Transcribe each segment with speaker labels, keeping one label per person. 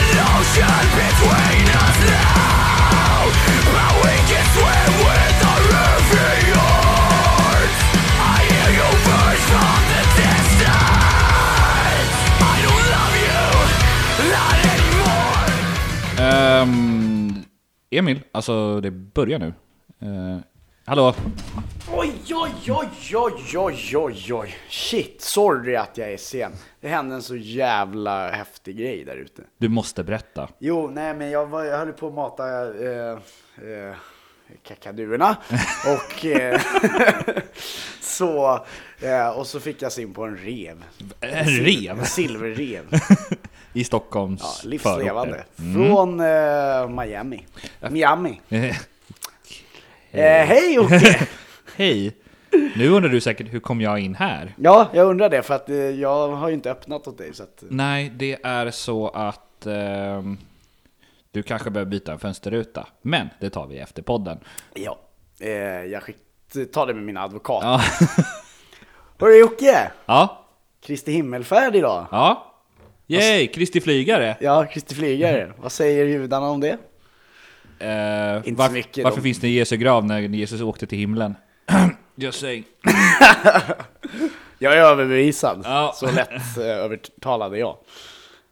Speaker 1: division between us now But we can swim with the riviers I hear you burst from the distance I don't love you, not anymore
Speaker 2: Ehm, Emil, alltså det börjar nu. Eh, hallå?
Speaker 3: Oj, oj, oj, oj, oj, oj, oj. Shit, sorry att jag är sen. Det hände en så jävla häftig grej där ute.
Speaker 2: Du måste berätta.
Speaker 3: Jo, nej men jag, var, jag höll på att mata eh, eh, kakadurerna. Och, eh, så, eh, och så fick jag syn på en rev.
Speaker 2: En rev?
Speaker 3: En silverrev.
Speaker 2: I Stockholms
Speaker 3: Ja,
Speaker 2: förorter.
Speaker 3: livslevande. Från eh, Miami. Miami.
Speaker 2: Eh,
Speaker 3: Eh, hej Jocke!
Speaker 2: Hej. Nu undrar du säkert, hur kom jag in här?
Speaker 3: Ja, jag undrar det för att eh, jag har ju inte öppnat åt dig så att... eh,
Speaker 2: Nej, det är så att ehm, du kanske behöver byta en fönsterruta. Men det tar vi efter podden.
Speaker 3: Ja, eh, jag skick- tar det med min advokat.
Speaker 2: Ja,
Speaker 3: Hörru Jocke!
Speaker 2: ja,
Speaker 3: Kristi himmelfärd idag.
Speaker 2: ja. Yay, Kristi flygare.
Speaker 3: Ja, Kristi flygare.
Speaker 2: Mm.
Speaker 3: Vad säger judarna om det?
Speaker 2: Eh,
Speaker 3: Inte
Speaker 2: varf-
Speaker 3: så mycket
Speaker 2: varför
Speaker 3: då.
Speaker 2: finns det en Jesu grav när Jesus åkte till himlen? Just saying.
Speaker 3: Jag är överbevisad.
Speaker 2: Ja.
Speaker 3: Så lätt eh, övertalade jag.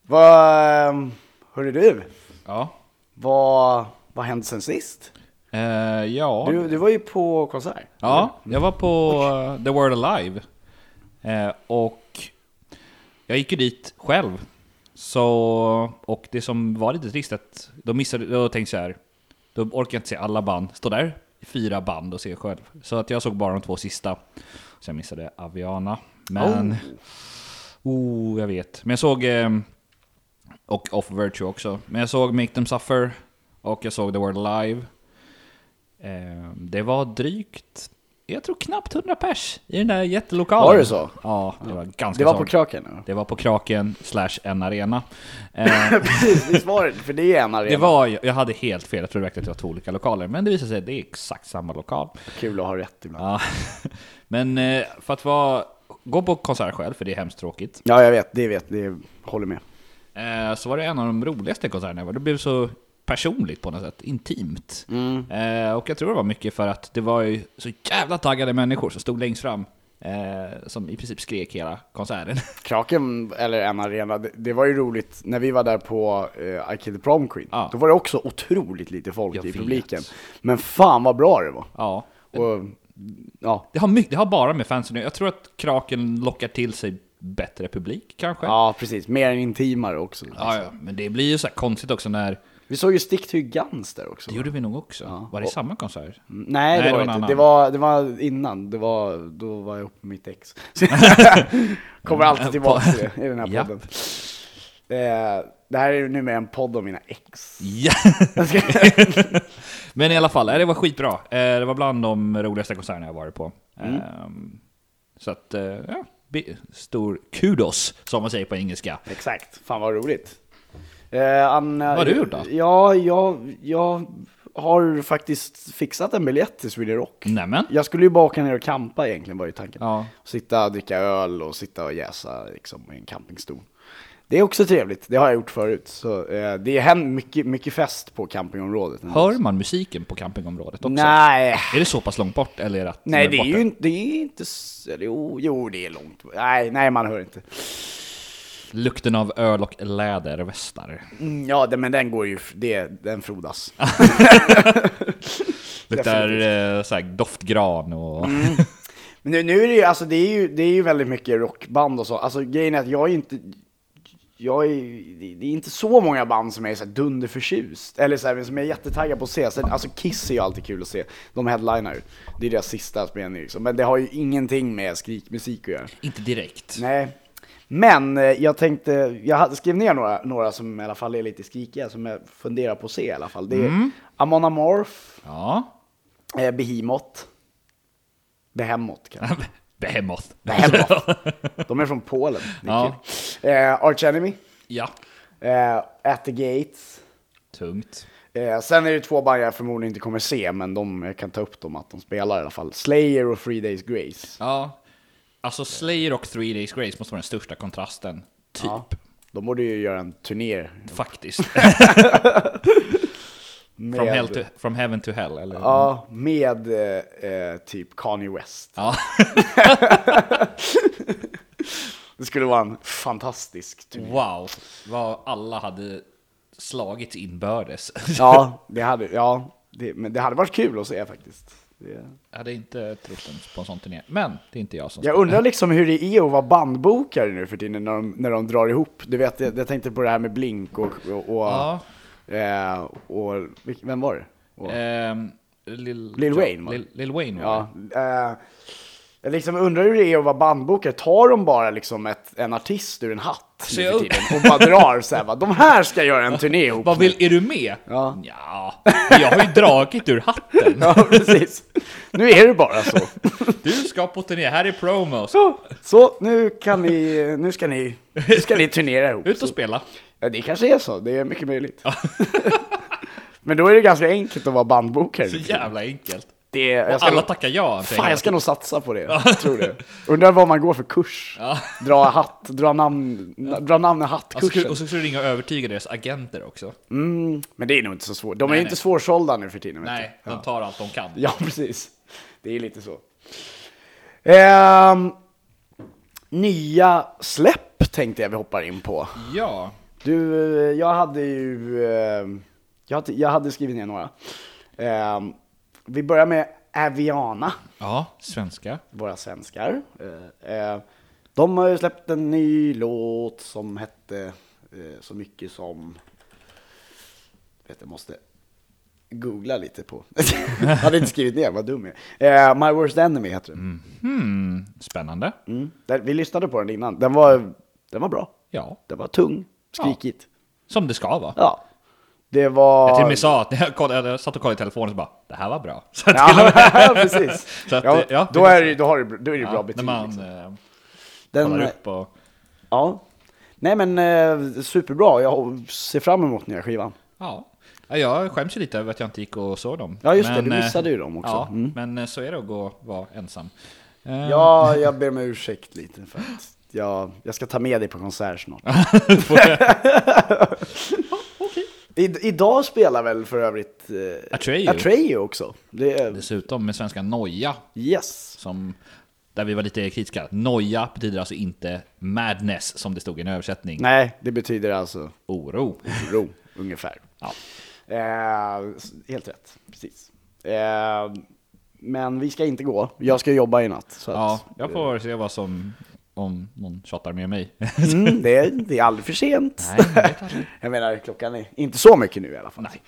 Speaker 3: Vad... ehm, Hörru du,
Speaker 2: Ja.
Speaker 3: vad, vad hände sen sist?
Speaker 2: Eh, ja.
Speaker 3: Du, du var ju på konsert.
Speaker 2: Ja, jag var på eh, The World Alive. Eh, och jag gick ju dit själv. Så, och det som var lite trist att då missade, då tänkte jag så här. Då orkar jag inte se alla band. Stå där i fyra band och se själv. Så att jag såg bara de två sista. Så jag missade Aviana. Men... Oh, jag vet. Men jag såg... ehm, och Off Virtue också. Men jag såg Make Them Suffer. Och jag såg The World Alive. Ehm, Det var drygt, jag tror knappt 100 pers i den där jättelokalen.
Speaker 3: Var det så?
Speaker 2: Ja, det var ganska
Speaker 3: Det var på
Speaker 2: sånt.
Speaker 3: Kraken? eller?
Speaker 2: Det var på Kraken slash en arena. Eh,
Speaker 3: Precis, visst var det För det är en arena.
Speaker 2: det var, jag hade helt fel, jag trodde verkligen att det var två olika lokaler. Men det visade sig att det är exakt samma lokal.
Speaker 3: Kul att ha rätt ibland.
Speaker 2: Ja. Men eh, för att vara, gå på konsert själv, för det är hemskt tråkigt.
Speaker 3: Ja, jag vet. Det vet. Det håller med.
Speaker 2: Eh, så var det en av de roligaste konserterna jag var. Det blev så personligt på något sätt, intimt. Eh, och jag tror det var mycket för att det var ju så jävla taggade människor som stod längst fram. Eh, som i princip skrek hela konserten.
Speaker 3: Kraken, eller en arena, det, det var ju roligt när vi var där på eh, I Kid The Prom Queen.
Speaker 2: Ja.
Speaker 3: Då var det också otroligt lite folk
Speaker 2: Jag
Speaker 3: i
Speaker 2: vet.
Speaker 3: publiken. Men fan vad bra det var.
Speaker 2: ja.
Speaker 3: Och, ja.
Speaker 2: Det har, mycket, det har bara med fansen att göra. Jag tror att Kraken lockar till sig bättre publik kanske.
Speaker 3: ja, precis. Mer intimare också.
Speaker 2: Ja, ja, men det blir ju så här konstigt också när...
Speaker 3: Vi såg ju Stick to Guns där också.
Speaker 2: Det gjorde vi nog också. Var det samma konsert?
Speaker 3: Nej, det var
Speaker 2: en
Speaker 3: inte.
Speaker 2: annan.
Speaker 3: Det var, det var innan. Det var, då var jag ihop med mitt ex. Så- Kommer alltid tillbaka till det i den här
Speaker 2: Japp.
Speaker 3: podden. Eh, det här är ju numera en podd om mina ex.
Speaker 2: Ja. men i alla fall, eh, det var skitbra. Eh, Det var bland de roligaste konserterna jag varit på.
Speaker 3: Mm.
Speaker 2: Ehm, Så att, eh, ja. bi- Stor kudos, som man säger på engelska.
Speaker 3: Exakt, fan vad roligt. Eh, Anna,
Speaker 2: Vad har du gjort då?
Speaker 3: Ja, jag, jag har faktiskt fixat en biljett till Sweden Rock.
Speaker 2: Nämen.
Speaker 3: Jag skulle ju bara åka ner och campa egentligen var ju tanken.
Speaker 2: Ja.
Speaker 3: Sitta och dricka öl och sitta och jäsa liksom, i en campingstol. Det är också trevligt, det har jag gjort förut. Så, eh, det är mycket, mycket fest på campingområdet.
Speaker 2: Hör man musiken på campingområdet också?
Speaker 3: Nej,
Speaker 2: Är det så pass långt bort? Eller är det att
Speaker 3: Nej,
Speaker 2: den
Speaker 3: det är
Speaker 2: borta?
Speaker 3: ju inte, det är inte, s- eller jo, jo, det är långt. Nej, nej, man hör inte.
Speaker 2: Lukten av öl och lädervästar.
Speaker 3: Mm, ja, det, men den går ju, f- det, den frodas.
Speaker 2: Luktar eh, såhär, doftgran och...
Speaker 3: Mm. Men nu, nu är det ju, alltså det är ju, det är ju väldigt mycket rockband och så. Alltså grejen är att jag är inte, jag är, det- det är inte så många band som jag är så här dunderförtjust. Eller så här, som jag är jättetaggad på att se. Så, alltså Kiss är ju alltid kul att se. De headlinar ju. Det är deras sista spelning liksom. Men det har ju ingenting med skrikmusik att göra.
Speaker 2: Inte direkt.
Speaker 3: Nej. Men eh, jag tänkte, jag hade- skrev ner några, några som i alla fall är lite skrikiga, som jag funderar på att se i alla fall. Det är Amon Amarth,
Speaker 2: Ja.
Speaker 3: eh, Behemoth, Behemoth kanske.
Speaker 2: Behemoth.
Speaker 3: Behemoth. De är från Polen. Det är
Speaker 2: Ja.
Speaker 3: kul. Eh, Arch Enemy,
Speaker 2: Ja.
Speaker 3: eh, At the Gates.
Speaker 2: Tungt.
Speaker 3: Eh, sen är det två band jag förmodligen inte kommer se, men de, jag kan ta upp dem att de spelar i alla fall. Slayer och Three Days Grace.
Speaker 2: Ja. Alltså Slayer och Three Days Grace måste vara den största kontrasten. Typ.
Speaker 3: Ja. De borde ju göra en turné.
Speaker 2: Faktiskt.
Speaker 3: Med,
Speaker 2: from, hell to, from heaven to hell, eller?
Speaker 3: Ja, med eh, eh, typ Kanye West.
Speaker 2: Ja.
Speaker 3: Det skulle vara en fantastisk turné.
Speaker 2: Wow, vad alla hade slagits inbördes.
Speaker 3: Ja, det hade, ja det, men det hade varit kul att se faktiskt. Det,
Speaker 2: Jag hade inte trott en- på en sån turné, men det är inte jag som
Speaker 3: jag
Speaker 2: ska-
Speaker 3: undrar liksom hur det är att vara bandbokare nu för tiden när de, när de drar ihop. Du vet, jag, jag tänkte på det här med Blink och... och, och
Speaker 2: Ja,
Speaker 3: Eh, och vilk- vem var det? Och,
Speaker 2: ehm, Lil,
Speaker 3: Lil Wayne, va?
Speaker 2: Lil, Lil Wayne var
Speaker 3: ja,
Speaker 2: det.
Speaker 3: eh, jag liksom undrar hur det är att vara bandbokare. Tar de bara liksom ett, en artist ur en hatt
Speaker 2: Så
Speaker 3: nu
Speaker 2: jag-
Speaker 3: för tiden och bara drar så här, va, de här ska göra en turné ihop.
Speaker 2: Vad vill, är du med?
Speaker 3: Ja.
Speaker 2: Nja, jag har ju dragit ur hatten.
Speaker 3: Ja, precis. Nu är det bara så.
Speaker 2: Du ska på turné, här är promos.
Speaker 3: Så, så nu, kan ni, nu, ska ni, nu ska ni turnera ihop.
Speaker 2: Ut och spela.
Speaker 3: Ja, det kanske är så, det är mycket möjligt. Men då är det ganska enkelt att vara bandbokare. liksom.
Speaker 2: Så jävla enkelt.
Speaker 3: Det, jag,
Speaker 2: Och
Speaker 3: ska
Speaker 2: alla
Speaker 3: nog,
Speaker 2: tackar ja. säger
Speaker 3: fan,
Speaker 2: jag.
Speaker 3: jag ska nog satsa på det. Jag tror det. Undrar vad man går för kurs.
Speaker 2: Ja.
Speaker 3: Dra hatt, dra namn, na- dra namn i
Speaker 2: Alltså,
Speaker 3: hattkursen.
Speaker 2: skulle- och så ska du ringa och övertyga deras agenter också.
Speaker 3: Mm, men det är nog inte så svårt. De är
Speaker 2: Nej,
Speaker 3: ju inte
Speaker 2: nej.
Speaker 3: svårsålda nu för tiden. vet du.
Speaker 2: Nej, de tar allt de kan.
Speaker 3: Ja, precis. Det är lite så. Ehm, nya släpp tänkte jag vi hoppar in på.
Speaker 2: Ja,
Speaker 3: Du, eh, jag hade ju... ehm, Jag hade, jag hade skrivit ner några. Ehm, vi börjar med Aviana,
Speaker 2: ja svenska.
Speaker 3: våra svenskar. Eh, eh, de har ju släppt en ny låt som hette eh, så mycket som... Vet, jag måste googla lite på... jag hade inte skrivit ner, vad dum jag är. Eh, My Worst Enemy heter den.
Speaker 2: Hmm, spännande.
Speaker 3: Mm. Där- Vi lyssnade på den innan. Den var, den var bra.
Speaker 2: Ja,
Speaker 3: Den var tung, skrikigt.
Speaker 2: som det ska vara.
Speaker 3: Ja. Det var...
Speaker 2: Jag till och med sa att när jag, kollade, jag satt och kollade i telefonen så bara det här var bra. Så att,
Speaker 3: Ja, precis.
Speaker 2: Så att, eh,
Speaker 3: ja,
Speaker 2: ja,
Speaker 3: då,
Speaker 2: det
Speaker 3: är det, då, har det, då är det bra
Speaker 2: ja, när
Speaker 3: betyg.
Speaker 2: man
Speaker 3: liksom. eh,
Speaker 2: eh,
Speaker 3: Den,
Speaker 2: kollar upp och...
Speaker 3: ja. Nej men eh, superbra, jag ser fram emot nya skivan.
Speaker 2: Ja. Ja, jag skäms ju lite över att jag inte gick och såg dem.
Speaker 3: Ja, just det,
Speaker 2: Men,
Speaker 3: du
Speaker 2: eh,
Speaker 3: missade ju dem också.
Speaker 2: Ja,
Speaker 3: Mm.
Speaker 2: men eh, så är det att gå och vara ensam. Eh,
Speaker 3: Ja, jag ber om ursäkt lite för att jag, jag ska ta med dig på konsert snart. I, idag spelar väl för övrigt eh,
Speaker 2: Atreyu.
Speaker 3: Atreyu också. Det är,
Speaker 2: Dessutom med svenska noja,
Speaker 3: yes.
Speaker 2: som, där vi var lite kritiska. Noja betyder alltså inte madness, som det stod i en översättning.
Speaker 3: Nej, det betyder alltså
Speaker 2: Oro.
Speaker 3: ro, ungefär.
Speaker 2: Ja.
Speaker 3: Eh, s- helt rätt, precis. Eh, men vi ska inte gå, jag ska jobba i natt. Så
Speaker 2: ja,
Speaker 3: att,
Speaker 2: jag får se vad som, om någon tjatar med mig.
Speaker 3: mm, det, är, det är aldrig för sent.
Speaker 2: Nej, jag vet aldrig.
Speaker 3: Jag menar, klockan är inte så mycket nu i alla fall.
Speaker 2: Nej.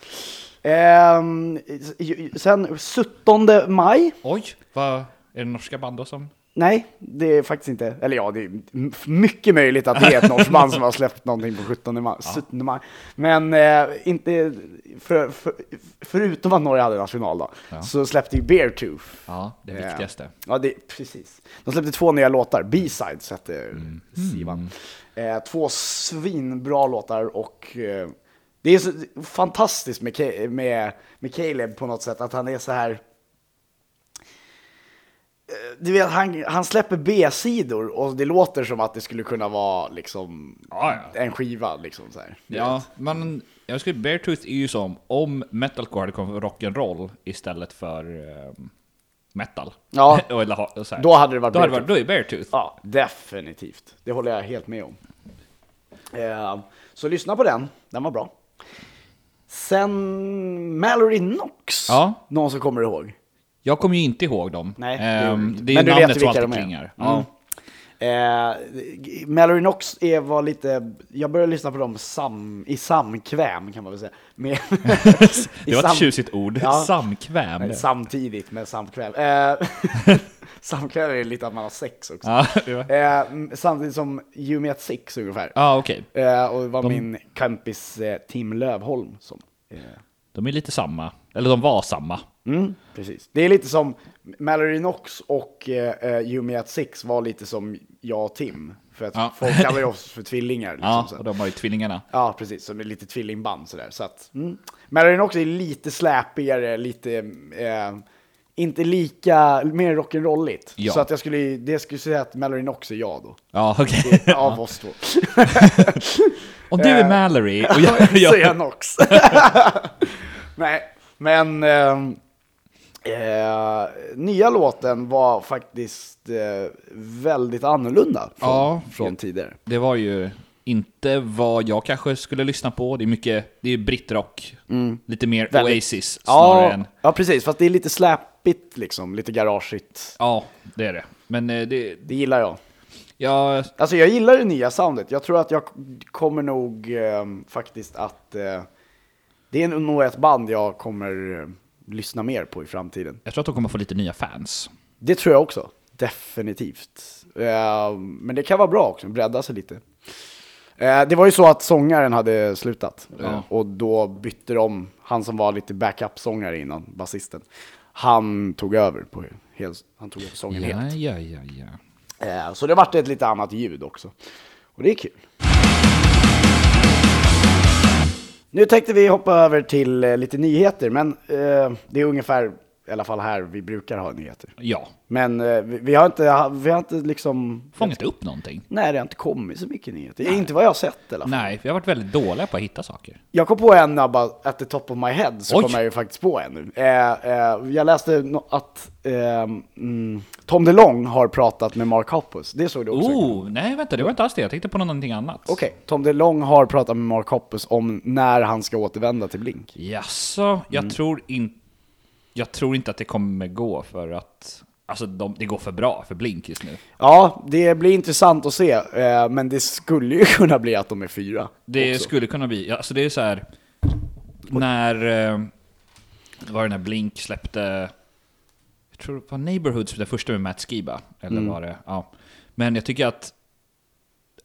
Speaker 3: Ehm, s- ju- sen 17 maj,
Speaker 2: Oj, vad, är det norska band då som...
Speaker 3: nej det är faktiskt inte, eller ja det är m- mycket möjligt att det är ett norskt band som har släppt någonting på 17 maj. 17 maj. Men eh, inte, för, för, förutom att Norge hade nationaldag,
Speaker 2: Ja.
Speaker 3: så släppte ju Beartooth.
Speaker 2: Ja, det
Speaker 3: Eh,
Speaker 2: viktigaste.
Speaker 3: Ja, det, precis. De släppte två nya låtar, B-sides hette
Speaker 2: Mm.
Speaker 3: skivan. Eh, två svinbra låtar och eh, det är så fantastiskt med, Ke- med, med Caleb på något sätt, att han är så här... Eh, Du vet, han, han släpper B-sidor och det låter som att det skulle kunna vara liksom
Speaker 2: Ja, ja.
Speaker 3: en skiva. Liksom, så här.
Speaker 2: Ja, men jag skulle Beartooth är ju som om metalcore hade kommit från rock'n'roll istället för ehm, metal.
Speaker 3: Ja.
Speaker 2: Och eller ha- och så här.
Speaker 3: Då hade det varit
Speaker 2: då, hade
Speaker 3: Beartooth.
Speaker 2: varit, då är Beartooth.
Speaker 3: Ja, definitivt. Det håller jag helt med om. Eh, så lyssna på den, den var bra. Sen Mallory Knox,
Speaker 2: Ja.
Speaker 3: någon som kommer ihåg.
Speaker 2: Jag kommer ju inte ihåg dem.
Speaker 3: Nej, det gör
Speaker 2: Ehm,
Speaker 3: du inte.
Speaker 2: det är ju
Speaker 3: Men du vet
Speaker 2: namnet som
Speaker 3: vilka
Speaker 2: alltid
Speaker 3: de är.
Speaker 2: klingar.
Speaker 3: Mm.
Speaker 2: Ja.
Speaker 3: Eh, Mallory Knox är, var lite, jag började lyssna på dem sam, i samkväm kan man väl säga. Med, i
Speaker 2: Det var
Speaker 3: sam-
Speaker 2: ett tjusigt ord.
Speaker 3: Ja.
Speaker 2: Samkväm.
Speaker 3: Nej, samtidigt med samkväm. Eh, samkväm är lite att man har sex också.
Speaker 2: ja, det var-
Speaker 3: Eh, samtidigt som You Meet Six ungefär.
Speaker 2: ja, okej.
Speaker 3: Eh, och det var
Speaker 2: De-
Speaker 3: min kompis eh, Tim Lövholm som... Eh,
Speaker 2: De är lite samma. Eller de var samma.
Speaker 3: mm, precis. Det är lite som Mallory Knox och eh, eh, Yumi at Six var lite som jag och Tim. För att
Speaker 2: Ja.
Speaker 3: folk kallar ju oss för tvillingar. Liksom,
Speaker 2: Ja,
Speaker 3: så.
Speaker 2: och de var ju tvillingarna.
Speaker 3: ja, precis. Som är lite tvillingband sådär. Så att, mm. Mallory Knox är lite släpigare, lite... Eh, inte lika, mer rock'n'rolligt.
Speaker 2: Ja.
Speaker 3: Så att jag skulle, det skulle säga att Mallory Knox är jag då.
Speaker 2: Ja, okej.
Speaker 3: Av oss två.
Speaker 2: Om du är
Speaker 3: Eh,
Speaker 2: Mallory och
Speaker 3: Ja,
Speaker 2: jag...
Speaker 3: så är
Speaker 2: jag
Speaker 3: jag Nox. Nej, men ehm, eh, nya låten var faktiskt eh, väldigt annorlunda från,
Speaker 2: Ja.
Speaker 3: från tidigare.
Speaker 2: det var ju inte vad jag kanske skulle lyssna på. Det är mycket, det är brittrock. Lite mer
Speaker 3: Mm. Väldigt-
Speaker 2: Oasis snarare
Speaker 3: ja,
Speaker 2: än...
Speaker 3: ja, precis. Fast det är lite släpigt liksom, lite garageigt.
Speaker 2: Ja, det är det. Men eh, det...
Speaker 3: Det gillar jag.
Speaker 2: Jag
Speaker 3: Alltså jag gillar det nya soundet. Jag tror att jag kommer nog eh, faktiskt att... Eh, det är nog ett band jag kommer eh, lyssna mer på i framtiden.
Speaker 2: Jag tror att de kommer få lite nya fans.
Speaker 3: Det tror jag också. Definitivt. Eh, men det kan vara bra också, bredda sig lite. Eh, det var ju så att sångaren hade slutat. Eh, och då bytte de, han som var lite backup-sångare innan, basisten. Han tog över på hel, han tog över sången helt.
Speaker 2: ja, ja, ja.
Speaker 3: Eh, Så det vart ett lite annat ljud också. Och det är kul. Nu tänkte vi hoppa över till eh, lite nyheter, men eh, det är ungefär i alla fall här vi brukar ha nyheter.
Speaker 2: Ja,
Speaker 3: Men eh, vi, vi har inte, vi har inte liksom...
Speaker 2: fångat upp någonting.
Speaker 3: Nej, det har inte kommit så mycket nyheter. Inte vad jag har sett i alla fall.
Speaker 2: Nej, vi har varit väldigt dåliga på att hitta saker.
Speaker 3: Jag kom på en bara at the top of my head, så
Speaker 2: Oj.
Speaker 3: kom jag ju faktiskt på en nu. Eh, eh, jag läste nå- att eh, mm, Tom DeLong har pratat med Mark Hoppus. Det såg du också?
Speaker 2: Oh, nej vänta, det var inte alls det. Jag tänkte på någonting annat.
Speaker 3: Okej, Tom DeLong har pratat med Mark Hoppus om när han ska återvända till Blink.
Speaker 2: Jaså, jag
Speaker 3: Mm.
Speaker 2: tror inte... Jag tror inte att det kommer gå för att... Alltså, de, det går för bra för Blink just nu.
Speaker 3: Ja, det blir intressant att se, eh, men det skulle ju kunna bli att de är fyra.
Speaker 2: Det
Speaker 3: också.
Speaker 2: skulle kunna bli... Alltså det är så här... När... Eh, var det när Blink släppte... Jag tror det var Neighborhoods, den första med Matt Skiba. Eller
Speaker 3: Mm.
Speaker 2: var det... Ja. Men jag tycker att...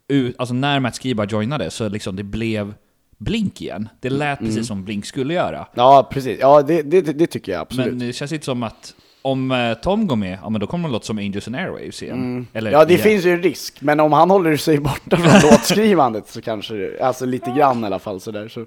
Speaker 2: u- Alltså när Matt Skiba joinade så liksom det blev Blink igen. Det lät
Speaker 3: Mm.
Speaker 2: precis som Blink skulle göra.
Speaker 3: Ja, precis. Ja, det, det, det- det tycker jag absolut.
Speaker 2: Men det känns inte som att... Om eh, Tom går med, ja men då kommer det låta som Angels and Airwaves igen. Eller
Speaker 3: Mm. ja, det
Speaker 2: igen.
Speaker 3: finns ju en risk, men om han håller sig borta från låtskrivandet så kanske det, alltså lite grann i alla fall sådär, så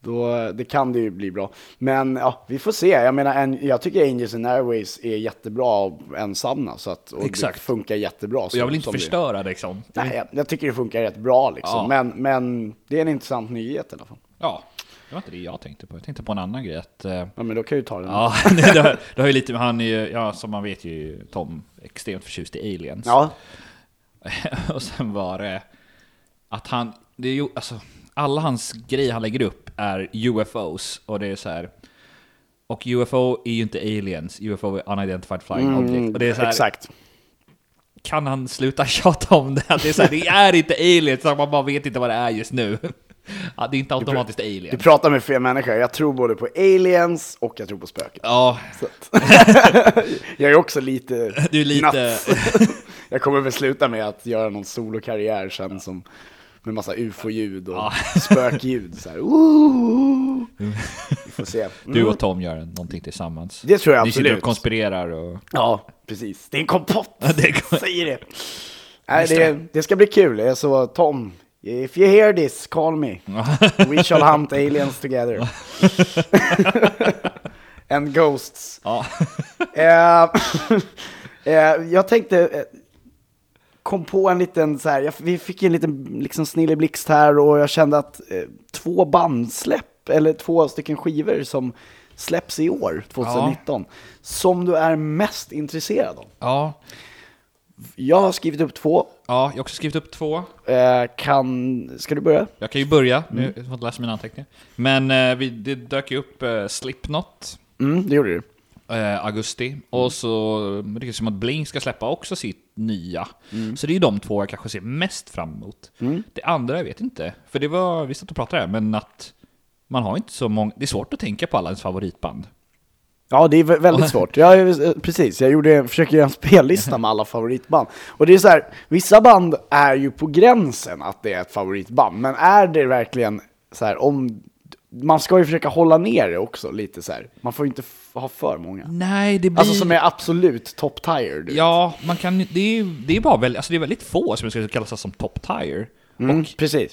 Speaker 3: då, det kan det ju bli bra. Men ja, vi får se. Jag menar, en, jag tycker Angels and Airways är jättebra ensamma, så att, och
Speaker 2: Exakt.
Speaker 3: det funkar jättebra.
Speaker 2: Och jag vill inte
Speaker 3: som det-
Speaker 2: förstöra liksom.
Speaker 3: Nej, jag, jag tycker det funkar rätt bra liksom,
Speaker 2: Ja.
Speaker 3: men, men det är en intressant nyhet i alla fall.
Speaker 2: Ja, det var inte det jag tänkte på. Jag tänkte på en annan grej. Att, eh,
Speaker 3: Ja, men då kan jag ju ta den.
Speaker 2: Ja, det, det, har- det har ju lite med han är ju, ja som man vet ju Tom, extremt förtjust i aliens.
Speaker 3: Ja.
Speaker 2: Och sen var det att han, det är ju, alltså, alla hans grejer han lägger upp är UFOs och det är så här. Och UFO är ju inte aliens, UFO är unidentified flying
Speaker 3: Mm,
Speaker 2: object. Och det är så här,
Speaker 3: Exakt.
Speaker 2: kan han sluta tjata om det? Att Det är, så här, det är inte aliens, man bara vet inte vad det är just nu. Ja, det är inte automatiskt
Speaker 3: Du
Speaker 2: alien.
Speaker 3: pratar med fel människa. Jag tror både på aliens och jag tror på spöken.
Speaker 2: Ja,
Speaker 3: Så att- jag är också lite
Speaker 2: Du är lite-
Speaker 3: nuts. jag kommer väl sluta med att göra någon solokarriär sen som med massa ufo-ljud och spökljud. Så här, "Ooh." Vi får se.
Speaker 2: Mm. du och Tom gör någonting tillsammans.
Speaker 3: mm. Det tror jag
Speaker 2: Ni sitter
Speaker 3: absolut.
Speaker 2: och konspirerar och...
Speaker 3: Ja, precis. Det är en kompott!
Speaker 2: det är en kompott.
Speaker 3: Säger det. Nej, det, det ska bli kul. Eh, Så Tom, if you hear this, call me. We shall hunt aliens together. And ghosts.
Speaker 2: Ja.
Speaker 3: Eh, eh, jag tänkte, eh, kom på en liten så här, jag, vi fick en liten liksom snilleblixt här och jag kände att eh, två bandsläpp, eller två stycken skivor som släpps i år, 2019, som du är mest intresserad av.
Speaker 2: Ja,
Speaker 3: Jag har skrivit upp två,
Speaker 2: ja, jag har också skrivit upp två.
Speaker 3: eh, kan, ska du börja?
Speaker 2: Jag kan ju börja,
Speaker 3: Mm.
Speaker 2: nu jag får inte läsa mina anteckningar. Men eh, vi, det dök ju upp eh, Slipknot,
Speaker 3: Mm, det gjorde du.
Speaker 2: eh, augusti.
Speaker 3: Mm.
Speaker 2: Och så det är som att Blink ska släppa också sitt nya.
Speaker 3: Mm.
Speaker 2: Så det är ju de två jag kanske ser mest fram emot. Det andra jag vet inte, för det var, vi satt och pratade här, men att man har inte så många, det är svårt att tänka på alla ens favoritband.
Speaker 3: Ja, det är vä- väldigt svårt. Jag, eh, precis, jag gjorde, försöker göra en spellista med alla favoritband. Och det är så här, vissa band är ju på gränsen att det är ett favoritband, men är det verkligen så här, om... Man ska ju försöka hålla ner det också lite så här. Man får ju inte f- ha för många.
Speaker 2: Nej, det blir...
Speaker 3: Alltså som är absolut top tier. du.
Speaker 2: Ja, man kan, ju- det, är, det är bara väl, alltså det är väldigt få som skulle kallas som top tire.
Speaker 3: Mm, precis.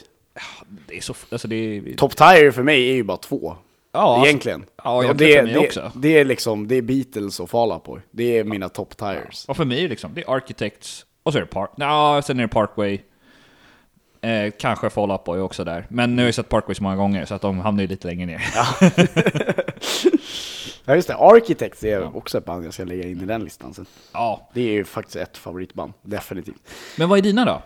Speaker 2: Det är så, alltså det är,
Speaker 3: Top tier för mig är ju bara två.
Speaker 2: Ja, alltså-
Speaker 3: Egentligen.
Speaker 2: ja, jag
Speaker 3: Och
Speaker 2: tror mig
Speaker 3: det,
Speaker 2: också.
Speaker 3: Det är liksom, det är Beatles och Fall Out Boy. Det är mina top tires.
Speaker 2: Och för mig är det liksom, det är Architects, och så är det Park... Nja, sen är det Parkway. Eh, kanske Fall Out Boy också där. Men nu har jag sett Parkway så många gånger så att de hamnar ju lite längre ner.
Speaker 3: Ja just det, Architects är också ett band jag ska lägga in i den listan sen.
Speaker 2: Ja.
Speaker 3: Det är ju faktiskt ett favoritband, definitivt.
Speaker 2: Men vad är dina då?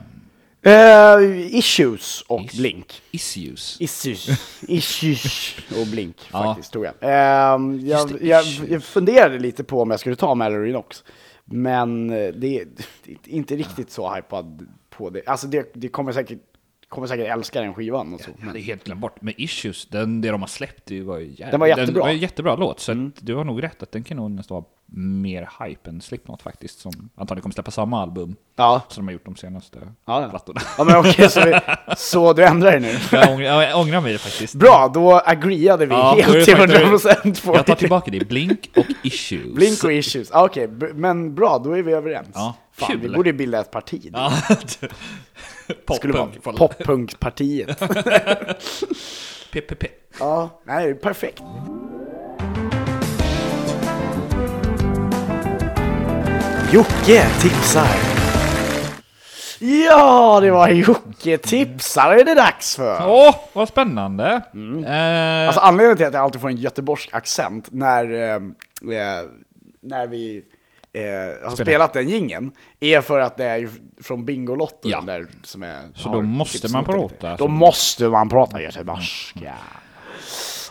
Speaker 3: Eh, issues och
Speaker 2: Ish-
Speaker 3: Blink.
Speaker 2: Issues.
Speaker 3: Issues. Issues och Blink
Speaker 2: Ja.
Speaker 3: faktiskt, tror jag. Ehm, jag,
Speaker 2: Just det,
Speaker 3: jag.
Speaker 2: issues.
Speaker 3: Jag funderade lite på om jag skulle ta Mallory Knox, men eh, det är det är inte riktigt så hypad på det. Alltså det, det kommer säkert, kommer säkert älska den skivan och så.
Speaker 2: Jag hade helt glömt bort, men Issues, den, det de har släppt, det var ju jävligt.
Speaker 3: Den var jättebra. Mm.
Speaker 2: Den var en jättebra låt, så att du har nog rätt att den kan nog nästan vara mer hype än Slipknot faktiskt, som antagligen kommer släppa samma album
Speaker 3: Ja,
Speaker 2: som de har gjort de senaste
Speaker 3: Ja.
Speaker 2: plattorna.
Speaker 3: ja men okej, så, vi, så du ändrar dig nu.
Speaker 2: Jag ångrar, jag ångrar mig faktiskt.
Speaker 3: Bra, då agreeade vi
Speaker 2: Ja, då är
Speaker 3: helt
Speaker 2: det
Speaker 3: till
Speaker 2: faktiskt-
Speaker 3: 100% på
Speaker 2: Jag tar
Speaker 3: det.
Speaker 2: tillbaka det, Blink och Issues.
Speaker 3: Blink och issues, ah, okej, b- men bra, då är vi överens.
Speaker 2: Ja,
Speaker 3: Fan,
Speaker 2: kul.
Speaker 3: vi borde bilda ett parti.
Speaker 2: Ja,
Speaker 3: Det skulle vara
Speaker 2: Poppunk. Pop.
Speaker 3: poppunkpartiet.
Speaker 2: PPP.
Speaker 3: ja, nej, det är perfekt. Jocke tipsar. Ja, det var Jocke tipsar är det dags för.
Speaker 2: Åh, vad spännande! Eh,
Speaker 3: Alltså anledningen till att jag alltid får en göteborgsk accent när, eh, eh, när vi eh, har spelat den gingen är för att det är ju från Bingolotto
Speaker 2: Ja.
Speaker 3: den där som är...
Speaker 2: Så
Speaker 3: har typ
Speaker 2: då måste
Speaker 3: tipsnoten
Speaker 2: man
Speaker 3: lite.
Speaker 2: prata,
Speaker 3: Då
Speaker 2: alltså.
Speaker 3: måste man prata göteborgska.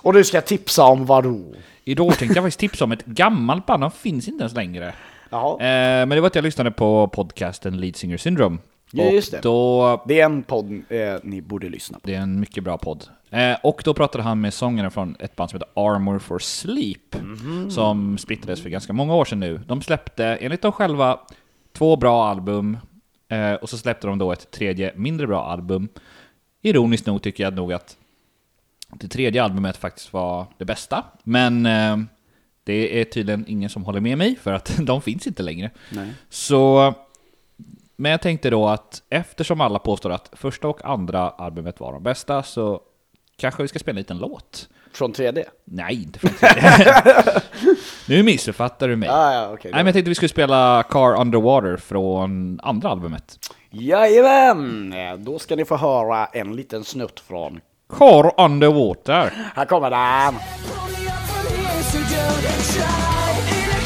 Speaker 3: Och du ska tipsa om vadå?
Speaker 2: Idag tänkte jag faktiskt tipsa om ett gammalt band, de finns inte ens längre.
Speaker 3: Jaha.
Speaker 2: Eh, men det var att jag lyssnade på podcasten Lead Singer Syndrome.
Speaker 3: Ja,
Speaker 2: Och
Speaker 3: just det.
Speaker 2: Då,
Speaker 3: Det är en podd eh, ni borde lyssna på.
Speaker 2: det är en mycket bra podd. Eh, och då pratade han med sångaren från ett band som heter Armor for Sleep,
Speaker 3: Mhm.
Speaker 2: som splittrades för ganska många år sedan nu. De släppte, enligt dem själva, två bra album, eh, och så släppte de då ett tredje mindre bra album. Ironiskt nog tycker jag nog att det tredje albumet faktiskt var det bästa, men eh, det är tydligen ingen som håller med mig för att de finns inte längre.
Speaker 3: Nej.
Speaker 2: Så, men jag tänkte då att eftersom alla påstår att första och andra albumet var de bästa så kanske vi ska spela en liten låt.
Speaker 3: Från 3D?
Speaker 2: Nej, inte från tredje. Nu missuppfattar du mig.
Speaker 3: Ah, ja, okej.
Speaker 2: Nej, men jag tänkte vi skulle spela Car Underwater från andra albumet.
Speaker 3: Jajamän! Eh, Då ska ni få höra en liten snutt från...
Speaker 2: Car Underwater.
Speaker 3: Här kommer den!
Speaker 1: Pull me up from here, so don't try. In a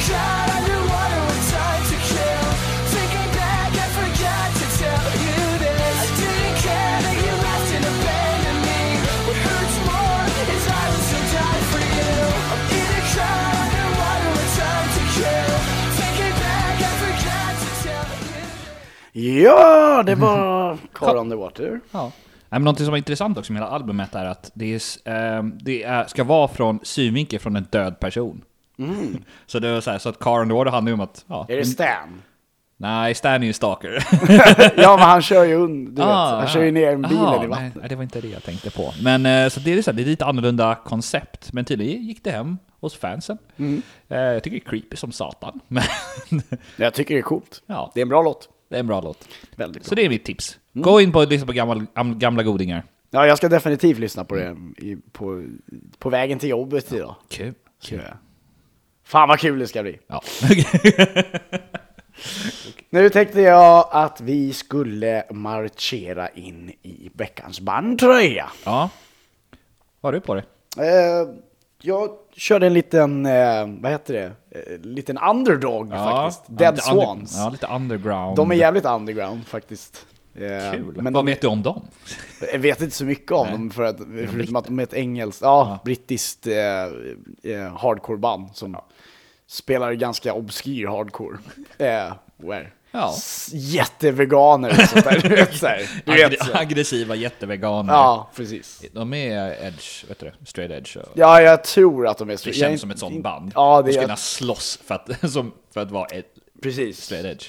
Speaker 1: cloud underwater with time to kill. Thinking back, I forgot to tell you this. I didn't care that you left and abandoned me. What hurts more is I would still die for you. I'm in a cloud underwater with time to kill. Thinking back, I forgot to tell you this.
Speaker 3: Ja, det var Car on the Water.
Speaker 2: Ja. Nej, men någonting som var intressant också med hela albumet är att det, är, s- ehm, det är, ska vara från synvinkel från en död person. så det var så, här, så att Car Underwater handlar ju om att... Ja,
Speaker 3: Är det Stan?
Speaker 2: Nej, Stan är ju stalker.
Speaker 3: Ja, men han kör ju un, du
Speaker 2: Ah,
Speaker 3: vet, han kör ju ner bilen
Speaker 2: aha,
Speaker 3: i vattnet.
Speaker 2: Nej, det var inte det jag tänkte på. Men eh, så det är, så här, det är lite annorlunda koncept, men tydligen gick det hem hos fansen.
Speaker 3: Mm.
Speaker 2: Eh, jag tycker det är creepy som satan, men
Speaker 3: Jag tycker det är coolt.
Speaker 2: Ja.
Speaker 3: Det är en bra låt.
Speaker 2: det är en bra låt.
Speaker 3: Väldigt
Speaker 2: Så
Speaker 3: bra.
Speaker 2: det är mitt tips.
Speaker 3: Mm.
Speaker 2: Gå in på och lyssna på gamla, am- gamla godingar.
Speaker 3: Ja, jag ska definitivt lyssna på det i, på, på vägen till jobbet idag.
Speaker 2: Kul.
Speaker 3: Ska jag. Fan vad kul det ska bli.
Speaker 2: Ja.
Speaker 3: Nu tänkte jag att vi skulle marschera in i veckans bandtröja.
Speaker 2: ja. Vad har du på dig?
Speaker 3: Eh, jag körde en liten, eh, vad heter det, eh, liten underdog faktiskt. Dead
Speaker 2: lite under-
Speaker 3: Swans.
Speaker 2: ja, lite underground.
Speaker 3: De är jävligt underground faktiskt. Eh,
Speaker 2: Kul.
Speaker 3: Men
Speaker 2: Vad
Speaker 3: de,
Speaker 2: vet du om dem?
Speaker 3: jag vet inte så mycket om dem för att, förutom att de är ett engelskt, ja, brittiskt eh, eh, hardcore-band som spelar ganska obskyr hardcore. Eh, where?
Speaker 2: Ja.
Speaker 3: S- Jätteveganer och sånt där. du vet, så här. Du vet,
Speaker 2: Aggre-
Speaker 3: så.
Speaker 2: aggressiva jätteveganer.
Speaker 3: Ja, precis.
Speaker 2: De är edge, vet du, straight edge. Och...
Speaker 3: Ja, jag tror att de är så.
Speaker 2: Det
Speaker 3: jag
Speaker 2: känns
Speaker 3: är
Speaker 2: som ett
Speaker 3: inte-
Speaker 2: sånt band.
Speaker 3: Ja,
Speaker 2: De
Speaker 3: det
Speaker 2: skulle
Speaker 3: är,
Speaker 2: kunna slåss för att, som, för att vara ett
Speaker 3: precis.
Speaker 2: straight edge.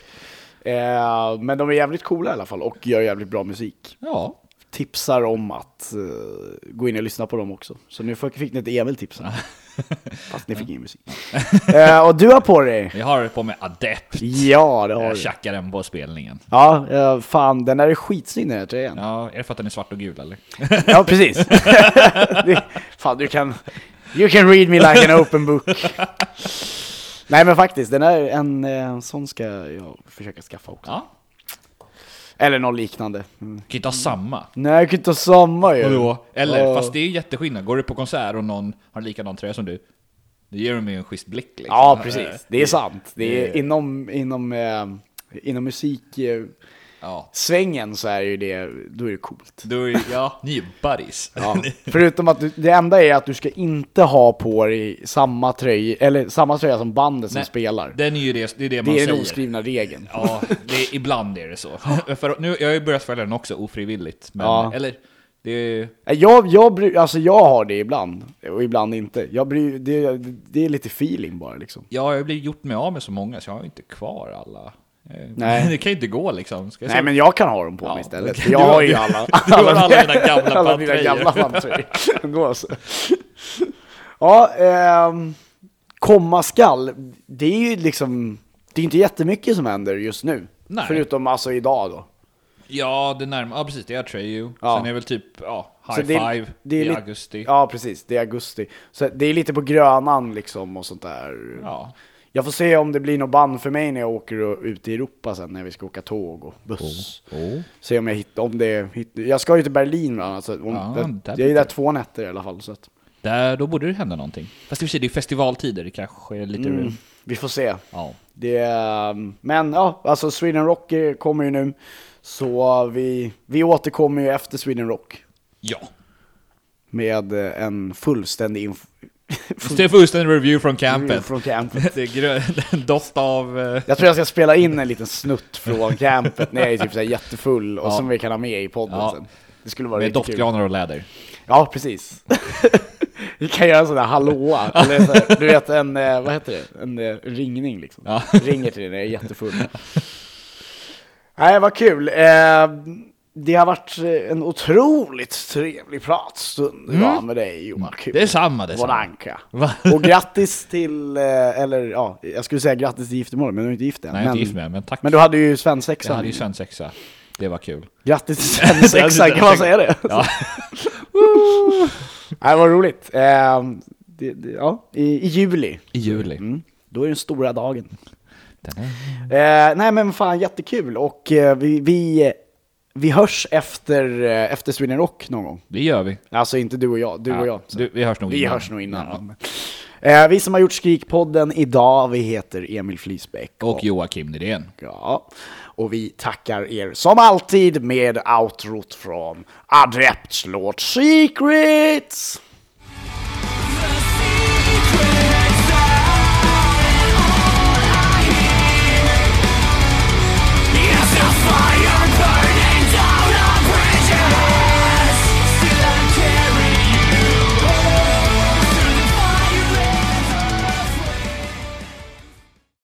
Speaker 3: Eh, men de är jävligt coola i alla fall och gör jävligt bra musik.
Speaker 2: Ja.
Speaker 3: tipsar om att eh, gå in och lyssna på dem också. Så nu fick, fick ni ett Emil-tips här. Fast ni fick ingen musik. Eh, och du har på dig?
Speaker 2: Jag har på mig Adept.
Speaker 3: Ja, det har
Speaker 2: Jag
Speaker 3: du.
Speaker 2: tjackar den på spelningen.
Speaker 3: Ja, eh, fan den här är skitsnygg den här tröjan.
Speaker 2: Ja, är det för att den är svart och gul eller?
Speaker 3: Ja, precis. det, fan, du kan... You can read me like an open book. Nej men faktiskt, den är en, eh, sån ska jag försöka skaffa också.
Speaker 2: Ja.
Speaker 3: Eller något liknande. Mm.
Speaker 2: Du kan inte ha samma.
Speaker 3: Nej, jag kan inte ha samma ju.
Speaker 2: Vadå? Eller,
Speaker 3: Ja.
Speaker 2: fast det är ju jätteskillnad. Går du på konsert och någon har likadan tröja som du, då ger de ju en schysst blick liksom.
Speaker 3: Ja, precis. Det är sant. Det
Speaker 2: det-
Speaker 3: är inom, inom, eh, inom musiksvängen
Speaker 2: Ja.
Speaker 3: så är ju det, då är det coolt.
Speaker 2: Då är ja, ni är buddies.
Speaker 3: Ja. Förutom att du, det enda är att du ska inte ha på dig samma tröja, eller samma tröja som bandet som
Speaker 2: Nej,
Speaker 3: spelar.
Speaker 2: Den är ju det, det är det man
Speaker 3: Det är den
Speaker 2: säger.
Speaker 3: oskrivna regeln.
Speaker 2: Ja, det, ibland är det så. För nu, jag har ju börjat följa den också ofrivilligt. Men,
Speaker 3: Ja.
Speaker 2: Eller, det är,
Speaker 3: Eh, Jag, jag, bry- alltså jag har det ibland, och ibland inte. Jag bryr, det, det är lite feeling bara liksom.
Speaker 2: ja, jag har blivit gjort mig av med så många så jag har ju inte kvar alla. Eh,
Speaker 3: Nej.
Speaker 2: Det kan ju inte gå liksom. Ska jag
Speaker 3: Nej
Speaker 2: se-
Speaker 3: men jag kan ha dem på
Speaker 2: Ja,
Speaker 3: mig istället.
Speaker 2: okej.
Speaker 3: Jag
Speaker 2: Du-
Speaker 3: har ju
Speaker 2: du-
Speaker 3: alla.
Speaker 2: du har alla dina gamla
Speaker 3: alla mina
Speaker 2: bandtröjor.
Speaker 3: gamla bandtröjor. Gås. Ja, ehm, komma skall. Det är ju liksom, det är inte jättemycket som händer just nu.
Speaker 2: Nej.
Speaker 3: Förutom alltså idag då.
Speaker 2: Ja, det närmar Ja, precis. Det är Atreyu.
Speaker 3: Ja.
Speaker 2: Sen är väl typ ja, High
Speaker 3: Så det är-
Speaker 2: Five
Speaker 3: det är
Speaker 2: i
Speaker 3: lite-
Speaker 2: augusti.
Speaker 3: Ja precis, det är augusti. Så det är lite på grönan liksom och sånt där.
Speaker 2: Ja.
Speaker 3: Jag får se om det blir något band för mig när jag åker ut i Europa sen när vi ska åka tåg och buss.
Speaker 2: Oh.
Speaker 3: Se om jag hittar, om det, hitt- jag ska ju till Berlin va? Alltså, om,
Speaker 2: Ja, där
Speaker 3: jag, jag är där två nätter i alla fall. Så att,
Speaker 2: Där, då borde det hända någonting. Fast i och för sig, det är festivaltider. Det kanske är lite...
Speaker 3: mm, vi får se.
Speaker 2: Ja.
Speaker 3: Det, är- men ja, alltså Sweden Rock eh, kommer ju nu. Så vi, vi återkommer ju efter Sweden Rock
Speaker 2: Ja.
Speaker 3: med eh, en fullständig info.
Speaker 2: Stefan Usten review från campet.
Speaker 3: Från campet.
Speaker 2: Det är grö- en doft av... eh,
Speaker 3: Jag tror jag ska spela in en liten snutt från campet när jag är typ så här jättefull och
Speaker 2: Ja.
Speaker 3: som vi kan ha med i podden
Speaker 2: Ja.
Speaker 3: sen. Det skulle vara
Speaker 2: Med
Speaker 3: riktigt kul.
Speaker 2: doftgranar och läder.
Speaker 3: Ja, precis. Vi kan göra en sån där hallåa, eller så här, du vet en, eh, vad heter det, en eh, ringning liksom.
Speaker 2: Ja.
Speaker 3: Ringer till dig när jag är jättefull. Nej, vad kul. Eh, Det har varit eh, en otroligt trevlig pratstund idag med dig Johan. Kul.
Speaker 2: Mm. Det är samma, det är
Speaker 3: Vår
Speaker 2: samma.
Speaker 3: anka.
Speaker 2: Va?
Speaker 3: Och grattis till, eh, eller ja, jag skulle säga grattis till giftermålet, men du är inte gift än.
Speaker 2: Nej, jag är inte gift med, men tack.
Speaker 3: men du hade ju
Speaker 2: jag hade
Speaker 3: svensexan.
Speaker 2: ju svensexa. Det var kul.
Speaker 3: Grattis till svensexan, kan man säga det?
Speaker 2: Ja.
Speaker 3: Nej, vad roligt. Eh, det, det, ja, i, I juli,
Speaker 2: I juli.
Speaker 3: mm. då är den stora dagen.
Speaker 2: Den är-
Speaker 3: Eh, nej men fan jättekul och eh, vi, vi, vi hörs efter, eh, efter Sweden Rock någon gång.
Speaker 2: Det gör vi.
Speaker 3: Alltså inte du och jag, du
Speaker 2: Ja,
Speaker 3: och jag.
Speaker 2: du- vi hörs nog
Speaker 3: vi
Speaker 2: innan.
Speaker 3: Hörs nog innan. Eh, vi som har gjort Skrikpodden idag, vi heter Emil Flysbäck.
Speaker 2: Och Joakim Nydén.
Speaker 3: Ja, och vi tackar er som alltid med outrot från Adepts Lord Secrets!